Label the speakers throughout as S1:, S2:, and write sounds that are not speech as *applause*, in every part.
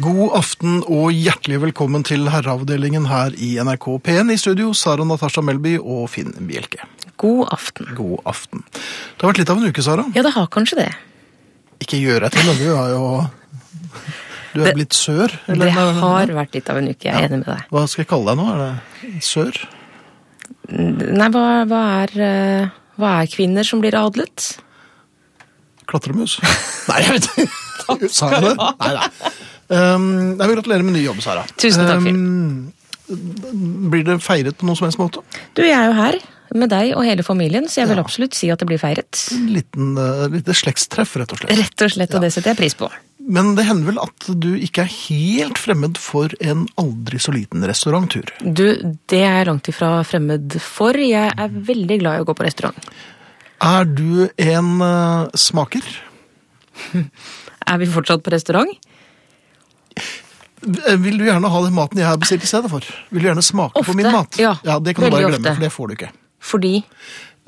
S1: God aften og hjertelig velkommen til herreavdelingen her i NRK P1. I studio Sara Natasha Melby og Finn Bjelke.
S2: God aften.
S1: God aften. Det har vært litt av en uke, Sara.
S2: Ja, det har kanskje det.
S1: Ikke gjør deg til Lønne, du er jo Du er
S2: Det-
S1: blitt sør?
S2: det har vært litt av en uke, jeg er enig med deg.
S1: Hva skal jeg kalle deg nå? Er det sør?
S2: Nei, hva, hva, er, eh, hva er kvinner som blir adlet?
S1: Klatremus? Nei, jeg vet ikke. Sa jeg det? Nei, nei. Um, jeg vil gratulere med ny jobb, Sara.
S2: Tusen takk, Phil.
S1: Um, blir det feiret på noen som helst måte?
S2: Du, jeg er jo her med deg og hele familien, så jeg vil absolutt si at det blir feiret.
S1: En liten, uh, lite slektstreff, rett og slett.
S2: Rett og slett, og det setter jeg pris på.
S1: Men det hender vel at du ikke er helt fremmed for en aldri så liten restauranttur.
S2: Du, det er jeg langt ifra fremmed for. Jeg er veldig glad i å gå på restaurant.
S1: Er du en eh, smaker?
S2: Er vi fortsatt på restaurant?
S1: Eh, Vil du gjerne ha den maten jeg har bestilt i stedet for? Vil du gjerne smake
S2: Ofte,
S1: på min mat?
S2: ja.
S1: Det kan du
S2: Veldig
S1: bare glemme,
S2: ofte.
S1: for det får du ikke.
S2: Fordi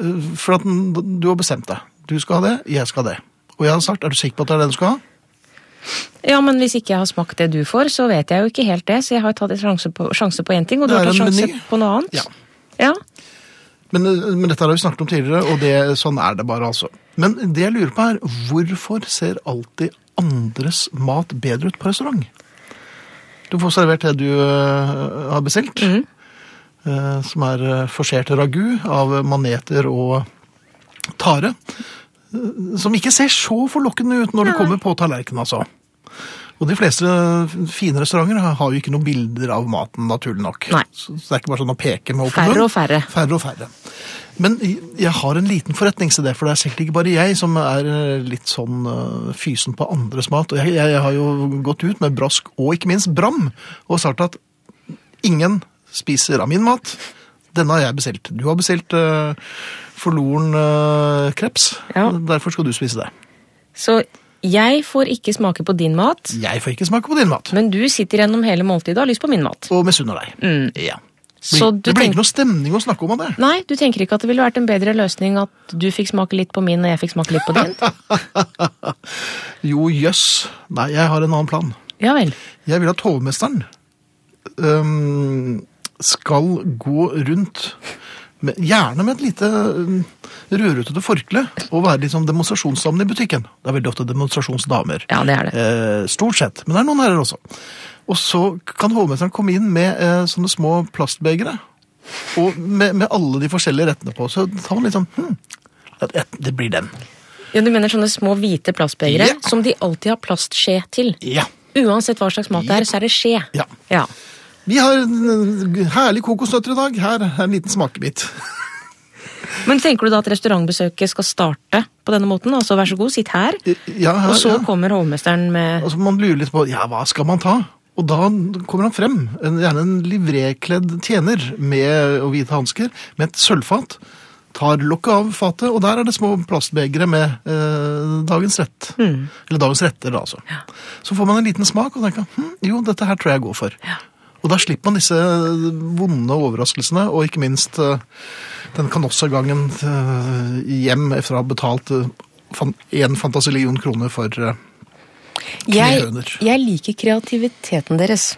S1: Eh, For at den- du har bestemt deg. Du skal ha det, jeg skal ha det. Og jeg har sagt, er du sikker på at det er det du skal ha?
S2: Ja, men hvis ikke jeg har smakt det du får, så vet jeg jo ikke helt det. Så jeg har tatt en sjanse på, sjanse på én ting, og du
S1: Det
S2: har
S1: er
S2: tatt
S1: en
S2: sjanse
S1: meny.
S2: på noe annet.
S1: Ja.
S2: Ja.
S1: Men, eh, men dette har vi snakket om tidligere, og det, sånn er det bare altså. Men det jeg lurer på er, hvorfor ser alltid andres mat bedre ut på restaurant? Du får servert det du eh, har bestilt, eh, som er eh, forsert ragu av maneter og tare, eh, som ikke ser så forlokkende ut når det kommer på tallerkenen altså. Og de fleste fine restauranter har jo ikke noen bilder av maten, naturlig nok.
S2: Nei.
S1: Så så det er ikke bare sånn å peke med åpen
S2: Færre
S1: munn.
S2: og færre.
S1: Færre og færre. Men jeg har en liten forretningsidé, for det er sikkert ikke bare jeg som er litt sånn øh, fysen på andres mat. Og jeg, jeg har jo gått ut med brask og ikke minst bram og sagt at ingen spiser av min mat. Denne har jeg bestilt. Du har bestilt øh, forloren øh, kreps.
S2: Ja.
S1: Derfor skal du spise det.
S2: Så jeg får ikke smake på din mat,
S1: Jeg får ikke smake på din mat.
S2: men du sitter gjennom hele måltidet og har lyst på min mat.
S1: Og misunner deg. Ja. Blir,
S2: Mm. Så du
S1: det blir ikke
S2: tenk-
S1: noe stemning å snakke om av det.
S2: Nei, du tenker ikke at det ville vært en bedre løsning at du fikk smake litt på min, og jeg fikk smake litt på
S1: *laughs*
S2: din?
S1: Jo, jøss. Nei, jeg har en annen plan.
S2: Ja vel.
S1: Jeg vil at hovmesteren øhm, skal gå rundt, med, gjerne med et lite øhm, rødrutete forkle, og være litt sånn demonstrasjonsdamen i butikken. Det er veldig ofte demonstrasjonsdamer.
S2: Ja, det er det.
S1: Eh, stort sett, men det er noen herrer også. Og så kan hovmesteren komme inn med eh, sånne små plastbegere, og med, med alle de forskjellige rettene på. Så tar man litt sånn, hm, det- det- det blir den.
S2: Ja, Du mener sånne små hvite plastbegre
S1: Ja.
S2: som de alltid har plastskje til?
S1: Ja.
S2: Uansett hva slags mat det er, så er det skje.
S1: Ja.
S2: ja.
S1: Vi har eh, herlige kokosnøtter i dag. Her er en liten smakebit.
S2: Men tenker du da at restaurantbesøket skal starte på denne måten? Altså vær så god, sitt her.
S1: Ja, her,
S2: Og så
S1: ja.
S2: kommer hovmesteren med
S1: Altså, man lurer litt på ja, hva skal man ta? Og da kommer han frem, en, gjerne en livrekledd tjener med, og hvite hansker, med et sølvfat. Tar lokket av fatet, og der er det små plastbegre med eh, dagens rett. Eller dagens retter, da, altså. Så får man en liten smak og tenker hm, jo, dette her tror jeg jeg går for. Og da slipper man disse eh, vonde overraskelsene, og ikke minst eh, den kanossagangen eh, hjem etter å ha betalt eh, fan, en fantasilion kroner for eh,
S2: jeg,
S1: knehøner.
S2: jeg liker kreativiteten deres.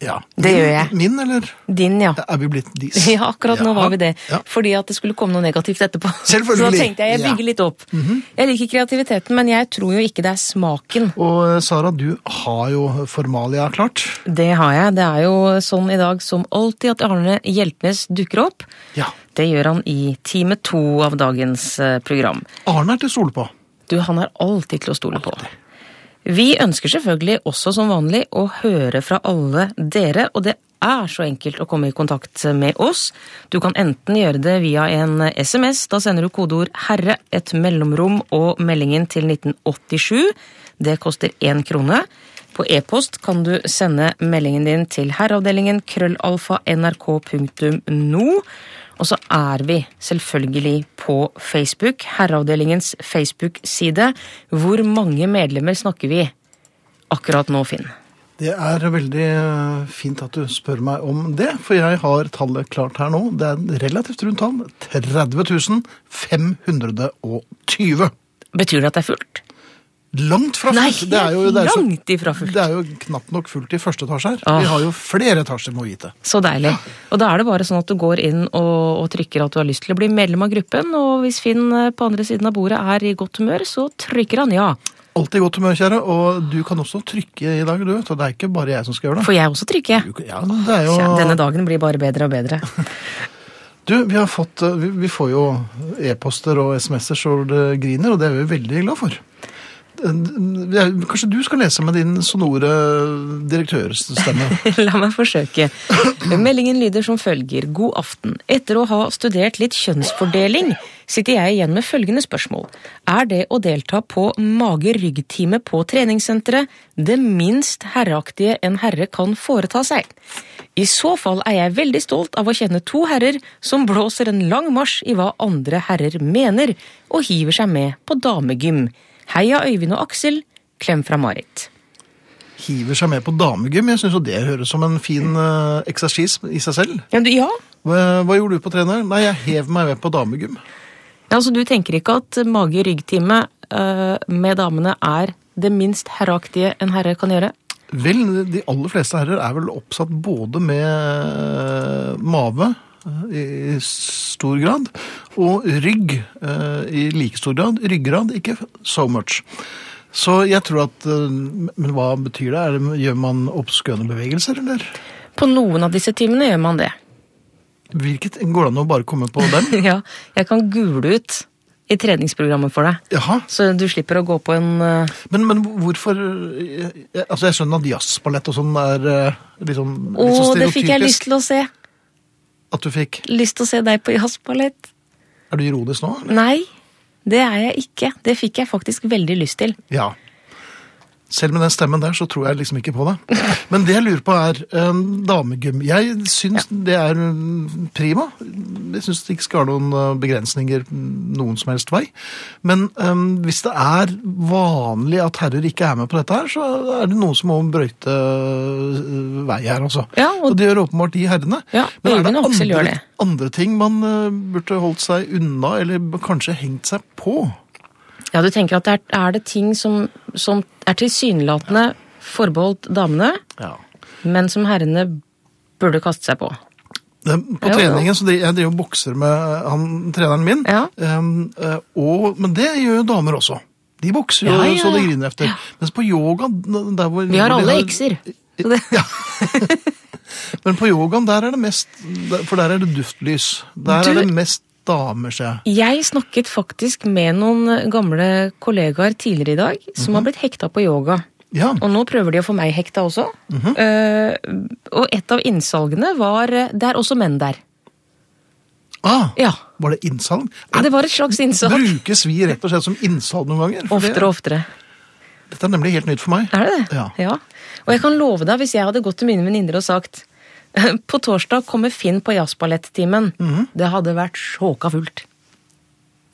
S1: Ja.
S2: Det gjør jeg.
S1: Min, eller
S2: Din, ja.
S1: er vi blitt dis?
S2: *laughs* Ja, akkurat
S1: Ja.
S2: nå var vi det.
S1: Ja.
S2: Fordi at det skulle komme noe negativt etterpå. *laughs*
S1: Selvfølgelig.
S2: Så da tenkte jeg jeg bygger
S1: Ja. Mhm.
S2: litt opp. Jeg liker kreativiteten, men jeg tror jo ikke det er smaken.
S1: Og eh, Sara, du har jo formalia klart.
S2: Det har jeg. Det er jo sånn i dag som alltid at Arne Hjeltnes dukker opp.
S1: Ja.
S2: Det gjør han i time to av dagens eh, program.
S1: Arne er til å stole på.
S2: Du, han er alltid til å stole på. Vi ønsker selvfølgelig også som vanlig å høre fra alle dere, og det er så enkelt å komme i kontakt med oss. Du kan enten gjøre det via en SMS, da sender du kodeord 'herre', et mellomrom og meldingen til 1987. Det koster én krone. På e-post kan du sende meldingen din til herreavdelingen krøllalfa nrk.no. Og så er vi selvfølgelig på Facebook, Herreavdelingens Facebook-side. Hvor mange medlemmer snakker vi akkurat nå, Finn?
S1: Det er veldig eh, fint at du spør meg om det, for jeg har tallet klart her nå. Det er en relativt rundt tall. 30 520.
S2: Betyr det at det er fullt?
S1: Langt fra
S2: Nei,
S1: fullt. Det er jo, det er så,
S2: langt ifra fullt.
S1: det er jo knapt nok fullt i første etasje her.
S2: Ah.
S1: Vi har jo flere etasjer, må vite.
S2: Så deilig. Og da er det bare sånn at du går inn og, og trykker at du har lyst til å bli medlem av gruppen, og hvis Finn eh, på andre siden av bordet er i godt humør, så trykker han ja.
S1: Alltid godt humør, kjære. Og du kan også trykke i dag, du. Så det er ikke bare jeg som skal gjøre det.
S2: Får jeg også trykke?
S1: Du kan- Ja, det er jo...
S2: Kjære, Denne dagen blir bare bedre og bedre.
S1: Du, vi har fått eh, Vi, vi får jo e-poster og SMS-er så det griner, og det er vi veldig glad for. Eh, jeg- Kanskje du skal lese med din sonore
S2: *laughs*
S1: direktørstemme.
S2: La meg forsøke. Meldingen lyder som følger. God aften. Etter å ha studert litt kjønnsfordeling, sitter jeg igjen med følgende spørsmål. Er det å delta på mage-rygg-time på treningssenteret det minst herreaktige en herre kan foreta seg? I så fall er jeg veldig stolt av å kjenne to herrer som blåser en lang marsj i hva andre herrer mener, og hiver seg med på damegym. Heia Øyvind og Aksel. Klem fra Marit.
S1: Hiver seg med på damegym. Jeg syns jo det høres som en fin eh, eksersis i seg selv.
S2: Ja, du, ja,
S1: Hva, hva gjorde du på treneren? Nei, jeg hev meg med på damegym.
S2: Ja, altså Du tenker ikke at mage-rygg-time eh, med damene er det minst herreaktige en herre kan gjøre?
S1: Vel, de aller fleste herrer er vel oppsatt både med eh, mave eh, i stor grad, og rygg eh, i like stor grad. Ryggrad, ikke so much. Så jeg tror at eh, Men hva betyr det? Er det? Gjør man oppskøende bevegelser, eller?
S2: På noen av disse timene gjør man det.
S1: Hvilket Går det an å bare komme på dem?
S2: *laughs* ja, Jeg kan gule ut i treningsprogrammet for deg,
S1: Jaha.
S2: så du slipper å gå på en eh,
S1: Men, men hvorfor eh, jeg- Altså, jeg skjønner at jazzballett og sånn er eh, litt sånn,
S2: Å,
S1: litt sånn
S2: det fikk jeg lyst
S1: stereotypisk.
S2: til å se!
S1: At du fikk
S2: Lyst til å se deg på jazzballett.
S1: Er du ironisk nå?
S2: Nei, det er jeg ikke. Det fikk jeg faktisk veldig lyst til.
S1: Ja. Selv med den stemmen der, så tror jeg liksom ikke på det. Men det jeg lurer på er um, damegym. Jeg syns det er mm, prima. Jeg syns det ikke skal være noen eh, begrensninger mm, noen som helst vei. Men em, hvis det er vanlig at herrer ikke er med på dette her, så er det noen som må brøyte eh, vei her, altså.
S2: Ja,
S1: og...
S2: og-
S1: det gjør åpenbart de herrene.
S2: Ja,
S1: Men er det
S2: Øyvind og Aksel gjør
S1: andre,
S2: det.
S1: andre ting man eh, burde holdt seg unna, eller b- kanskje hengt seg på?
S2: Ja, du tenker at det er, er det ting som, som er tilsynelatende forbeholdt damene,
S1: Ja.
S2: men som herrene burde kaste seg på?
S1: Det, Eh, på
S2: Jo, jo.
S1: treningen så driver jeg driver og bokser med eh, han, treneren min,
S2: Ja.
S1: Em, eh, og, men det gjør jo damer også. De bokser jo
S2: Ja, ja,
S1: så det
S2: ja.
S1: griner efter. Mens på yoga n- der hvor,
S2: Vi har
S1: hvor de
S2: alle ekser. Så det-
S1: *laughs* Ja. men på yogaen der er det mest For der er det duftlys. Der
S2: Du-
S1: er det mest damer, ser jeg.
S2: Jeg snakket faktisk med noen eh, gamle kollegaer tidligere i dag som har blitt hekta på yoga.
S1: Ja.
S2: Og nå prøver de å få meg hekta også. Eh, og et av innsalgene var eh, Det er også menn der.
S1: Ah,
S2: Ja.
S1: Var det innsalg?
S2: Det var et slags innsalg.
S1: Brukes vi rett og slett som innsalg noen ganger? For
S2: Oftere og oftere.
S1: Det, dette er nemlig helt nytt for meg.
S2: Er det det?
S1: Ja.
S2: Og jeg kan love deg, hvis jeg hadde gått til mine venninner og sagt *laughs* på torsdag kommer Finn på jazzballettimen. Det hadde vært sjåka fullt.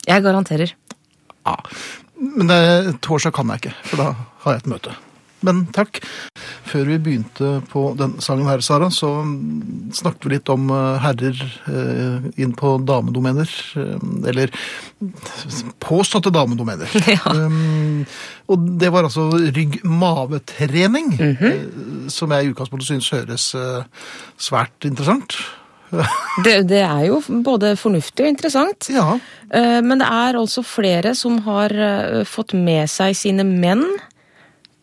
S2: Jeg garanterer.
S1: Ja, men det, torsdag kan jeg ikke, for da har jeg et møte. Men takk. Før vi begynte på den sangen her, Sara, så mm, snakket vi litt om eh, herrer eh, inn på damedomener. eh, Eller påståtte damedomener.
S2: Ja.
S1: Um, og det var altså rygg-mave-trening, eh, som jeg i utgangspunktet syns høres eh, svært interessant.
S2: Det, det er jo både fornuftig og interessant.
S1: Ja,
S2: Eh, Men det er altså flere som har eh, fått med seg sine menn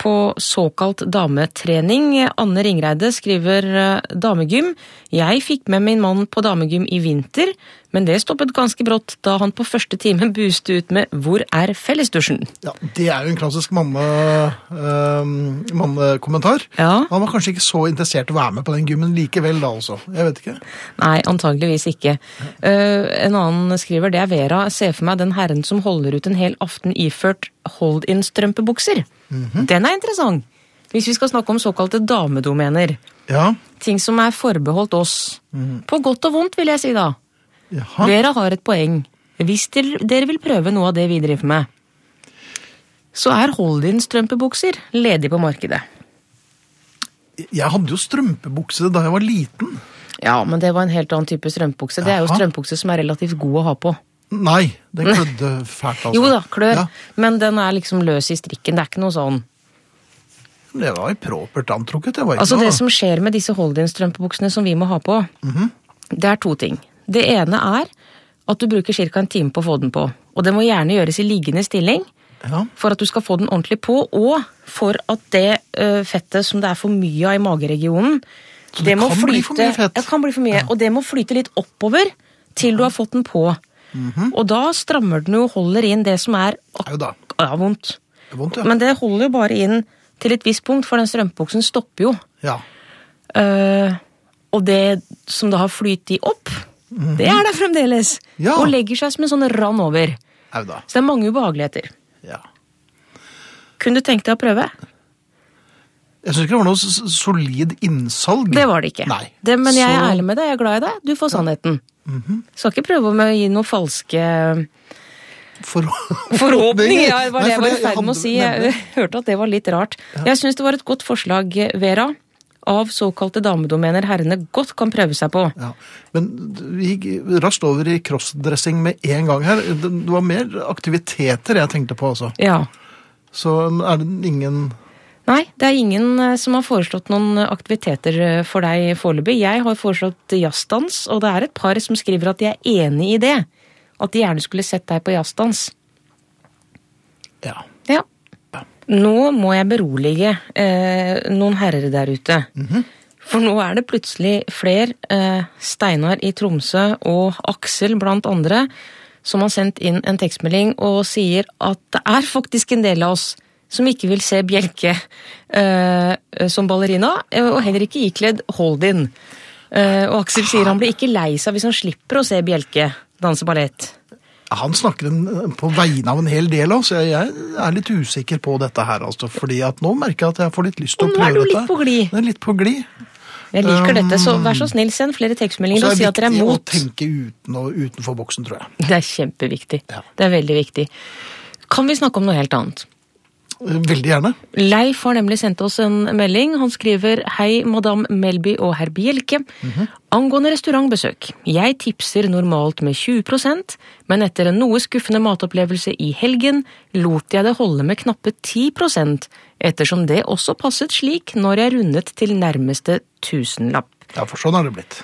S2: på såkalt dametrening. Anne Ringreide skriver eh, damegym. Jeg fikk med min mann på damegym i vinter, men det stoppet ganske brått da han på første time buste ut med 'Hvor er fellesdusjen?'
S1: Ja, Det er jo en klassisk manne- ehm, mannekommentar.
S2: Ja.
S1: Han var kanskje ikke så interessert i å være med på den gymmen likevel, da altså. Jeg vet ikke.
S2: Nei, antageligvis ikke. Eh, en annen skriver, det er Vera. Se for meg den herren som holder ut en hel aften iført hold-in-strømpebukser. Den er interessant! Hvis vi skal snakke om såkalte damedomener.
S1: Ja,
S2: Ting som er forbeholdt oss. På godt og vondt, vil jeg si da.
S1: jaha.
S2: Vera har et poeng. Hvis dere, dere vil prøve noe av det vi driver med, så er hold-in-strømpebukser ledig på markedet.
S1: Jeg hadde jo strømpebukse da jeg var liten.
S2: Ja, men det var en helt annen type strømpebukse. Det er jo
S1: Jaha.
S2: strømpebukse som er relativt god å ha på.
S1: Nei, den klødde fælt. Altså.
S2: Mm. Jo da, klør,
S1: Ja,
S2: men den er liksom løs i strikken. Det er ikke noe sånn
S1: men det var jo propert antrukket. Det var ikke
S2: Altså
S1: noe.
S2: Det som skjer med disse hold-in-strømpebuksene som vi må ha på,
S1: Mhm.
S2: det er to ting. Det ene er at du bruker ca. en time på å få den på. Og det må gjerne gjøres i liggende stilling
S1: Ja,
S2: for at du skal få den ordentlig på, og for at det ø, fettet som det er for mye av i mageregionen
S1: det kan bli for mye fett.
S2: Ja, det kan bli for mye, og det må flyte litt oppover til du har fått den på.
S1: Mhm.
S2: Og da strammer den jo og holder inn det som er ak-
S1: jo da.
S2: ja, vondt.
S1: Det er vondt, ja.
S2: Men det holder jo bare inn til et visst punkt, for den strømpebuksen stopper jo.
S1: ja.
S2: Eh, og det som da har flyttet opp, det er der fremdeles.
S1: Mhm. Ja.
S2: Og legger seg som en sånn rann over.
S1: Au da.
S2: Så det er mange ubehageligheter.
S1: Ja.
S2: Kunne du tenkt deg å prøve?
S1: Jeg syns ikke det var noe s- s- solid innsalg.
S2: Det var det ikke.
S1: Nei.
S2: Det, men jeg er
S1: Så- Mhm.
S2: ærlig med deg, jeg er glad i deg. Du får sannheten. Skal ikke prøve med å gi
S1: *laughs*
S2: noen falske
S1: For...
S2: forhåpninger. Ja, det var
S1: Nei,
S2: det jeg
S1: for
S2: var i
S1: det- jeg
S2: ferd med å
S1: hadde-
S2: si. Jeg *laughs* hørte at det var litt rart. Jeg syns det var et godt forslag, Vera, av såkalte damedomener herrene godt kan prøve seg på.
S1: Ja. Men vi gikk raskt over i crossdressing med en gang her. Det det var mer aktiviteter jeg tenkte på, altså.
S2: Ja.
S1: Så er det ingen
S2: Nei, det er ingen eh, som har foreslått noen eh, aktiviteter eh, for deg foreløpig. Jeg har foreslått eh, jazzdans, og det er et par som skriver at de er enig i det. At de gjerne skulle sett deg på jazzdans.
S1: Ja.
S2: Ja. Nå må jeg berolige eh, noen herrer der ute.
S1: Mhm.
S2: For nå er det plutselig fler, eh, Steinar i Tromsø og Aksel blant andre, som har sendt inn en tekstmelding og sier at det er faktisk en del av oss som ikke vil se Bjelke eh, som ballerina, eh, og heller ikke ikledd hold-in. Eh, og Aksel sier han blir ikke lei seg hvis han slipper å se Bjelke danse ballett.
S1: Han snakker en, på vegne av en hel del av oss. Jeg, jeg er litt usikker på dette her, altså. Fordi at nå merker jeg at jeg får litt lyst til å
S2: Og nå er
S1: prøve
S2: du
S1: dette.
S2: litt på glid.
S1: Jeg er litt på glid.
S2: Jeg liker
S1: Um,
S2: dette, så vær så snill, send flere tekstmeldinger
S1: Så
S2: og si
S1: det
S2: at dere
S1: er
S2: er
S1: viktig å
S2: mot.
S1: tenke uten og, utenfor boksen, tror jeg.
S2: Det er kjempeviktig.
S1: Ja.
S2: Det er veldig viktig. Kan vi snakke om noe helt annet?
S1: Veldig gjerne.
S2: Leif har nemlig sendt oss en melding. Han skriver Hei, madam Melby og herr Bjelke. Angående restaurantbesøk. Jeg tipser normalt med 20 men etter en noe skuffende matopplevelse i helgen, lot jeg det holde med knappe 10 ettersom det også passet slik når jeg rundet til nærmeste tusenlapp.
S1: Ja, for sånn er det blitt.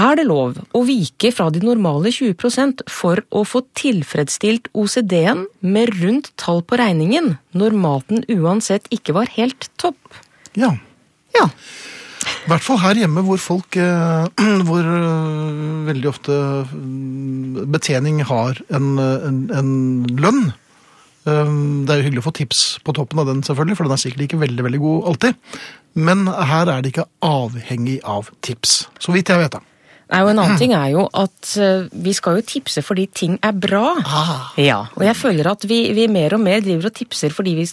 S2: Er det lov å vike fra de normale 20 for å få tilfredsstilt OCD-en med rundt tall på regningen, når maten uansett ikke var helt topp?
S1: Ja.
S2: Ja.
S1: I hvert fall her hjemme hvor folk eh, *clears throat* Hvor eh, veldig ofte mm, betjening har en, eh, en, en lønn. Um, Det er jo hyggelig å få tips på toppen av den, selvfølgelig, for den er sikkert ikke veldig veldig god alltid. Men her er det ikke avhengig av tips, så vidt jeg vet. da.
S2: Nei, og En annen ting er jo at eh, vi skal jo tipse fordi ting er bra.
S1: Ah.
S2: Ja, Og jeg føler at vi, vi mer og mer driver og tipser fordi vi,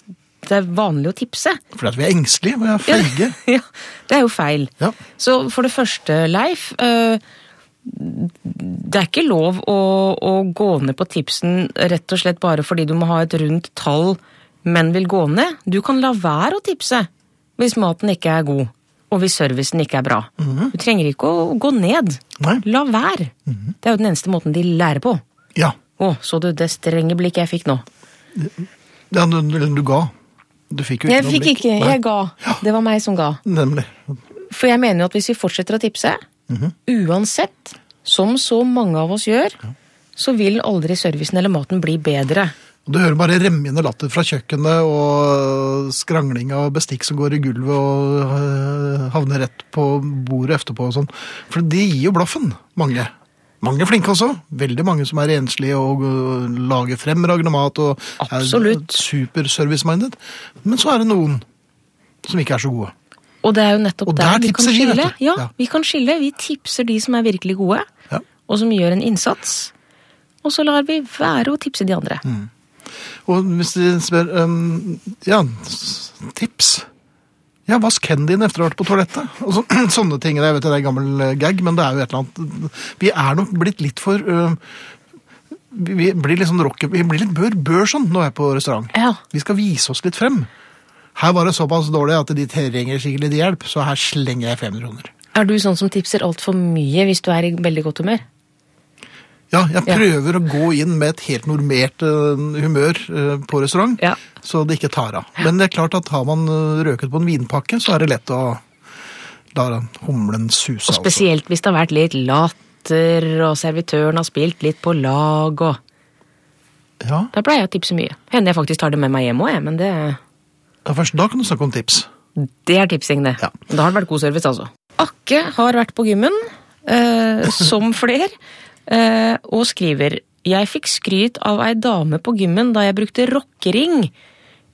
S2: det er vanlig å tipse.
S1: Fordi at vi er engstelige, vi er feige.
S2: *laughs* ja, det er jo feil.
S1: Ja.
S2: Så for det første, Leif. eh, Det er ikke lov å, å gå ned på tipsen rett og slett bare fordi du må ha et rundt tall, men vil gå ned. Du kan la være å tipse hvis maten ikke er god, og hvis servicen ikke er bra. Du trenger ikke å gå ned.
S1: Mhm. Nei. Mhm.
S2: La være. Det er jo den eneste måten de lærer på.
S1: Ja.
S2: Å, så du det strenge blikket jeg fikk nå?
S1: ja du, du du ga. Du fikk jo
S2: Jeg
S1: noe
S2: fikk
S1: blikk.
S2: ikke,
S1: Nei,
S2: jeg ga. Det var meg som ga.
S1: Nemlig.
S2: For jeg mener jo at hvis vi fortsetter å tipse,
S1: Mhm.
S2: uansett, som så mange av oss gjør, så vil aldri servicen eller maten bli bedre.
S1: Og Du hører bare remmende latter fra kjøkkenet og skrangling av bestikk som går i gulvet og øh, havner rett på bordet etterpå og sånn. For de gir jo blaffen, mange. Mange flinke også. Veldig mange som er enslige og øh, lager fremragende mat og
S2: Absolutt.
S1: er superservice-minded. Men så er det noen som ikke er så gode.
S2: Og det er jo nettopp
S1: Og
S2: der,
S1: der
S2: vi kan
S1: tipser vi, vet
S2: skille.
S1: du.
S2: ja,
S1: Ja.
S2: vi kan skille. Vi tipser de som er virkelig gode,
S1: Ja.
S2: og som gjør en innsats. Og så lar vi være å tipse de andre.
S1: Mm. Og hvis de spør øhm, Ja, s- tips. Ja, vask hendene dine etter å ha vært på toalettet. Og så, *clears throat* sånne ting. Jeg vet det er en gammel eh, gag, men det er jo et eller annet Vi er nok blitt litt for øhm, vi, vi blir litt sånn rocke... Vi blir litt bør, bør sånn når jeg er på restaurant.
S2: Ja.
S1: Vi skal vise oss litt frem. Her var det såpass dårlig at de trenger skikkelig hjelp, så her slenger jeg 500 kroner.
S2: Er du sånn som tipser altfor mye hvis du er i veldig godt humør?
S1: Ja, jeg prøver å gå inn med et helt normert eh, humør eh, på restaurant,
S2: Ja.
S1: så det ikke tar av. Men det er klart at har man eh, røket på en vinpakke, så er det lett å la humlen suse.
S2: Og spesielt hvis det har vært litt latter, og servitøren har spilt litt på lag og
S1: Altså. Ja,
S2: Da pleier jeg å tipse mye. Hender jeg faktisk tar det med meg hjem òg, jeg, men det,
S1: ja, først da kan du snakke om tips.
S2: det er tipsing, det.
S1: Ja.
S2: Da har det vært god service, altså. Akke har vært på gymmen, eh, som *laughs* fler, eh, og skriver Jeg fikk skryt av ei dame på gymmen da jeg brukte rockering.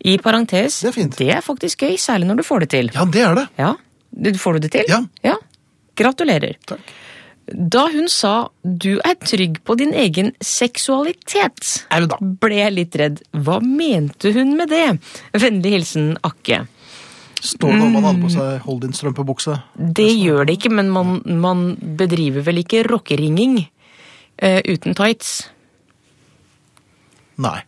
S2: I parentes.
S1: Det er fint.
S2: Det er faktisk gøy, særlig når du får det til.
S1: Ja, det er det.
S2: Ja. Du- Får du det til?
S1: Ja.
S2: Gratulerer.
S1: Takk.
S2: Da hun sa 'du er trygg på din egen seksualitet',
S1: Au da.
S2: ble jeg litt redd. Hva mente hun med det? Vennlig hilsen Akke.
S1: Står det om man hadde på
S2: Mm.
S1: seg hold din strømpebukse?
S2: Det gjør det ikke, men man, man bedriver vel ikke rockeringing eh, uten tights?
S1: Nei.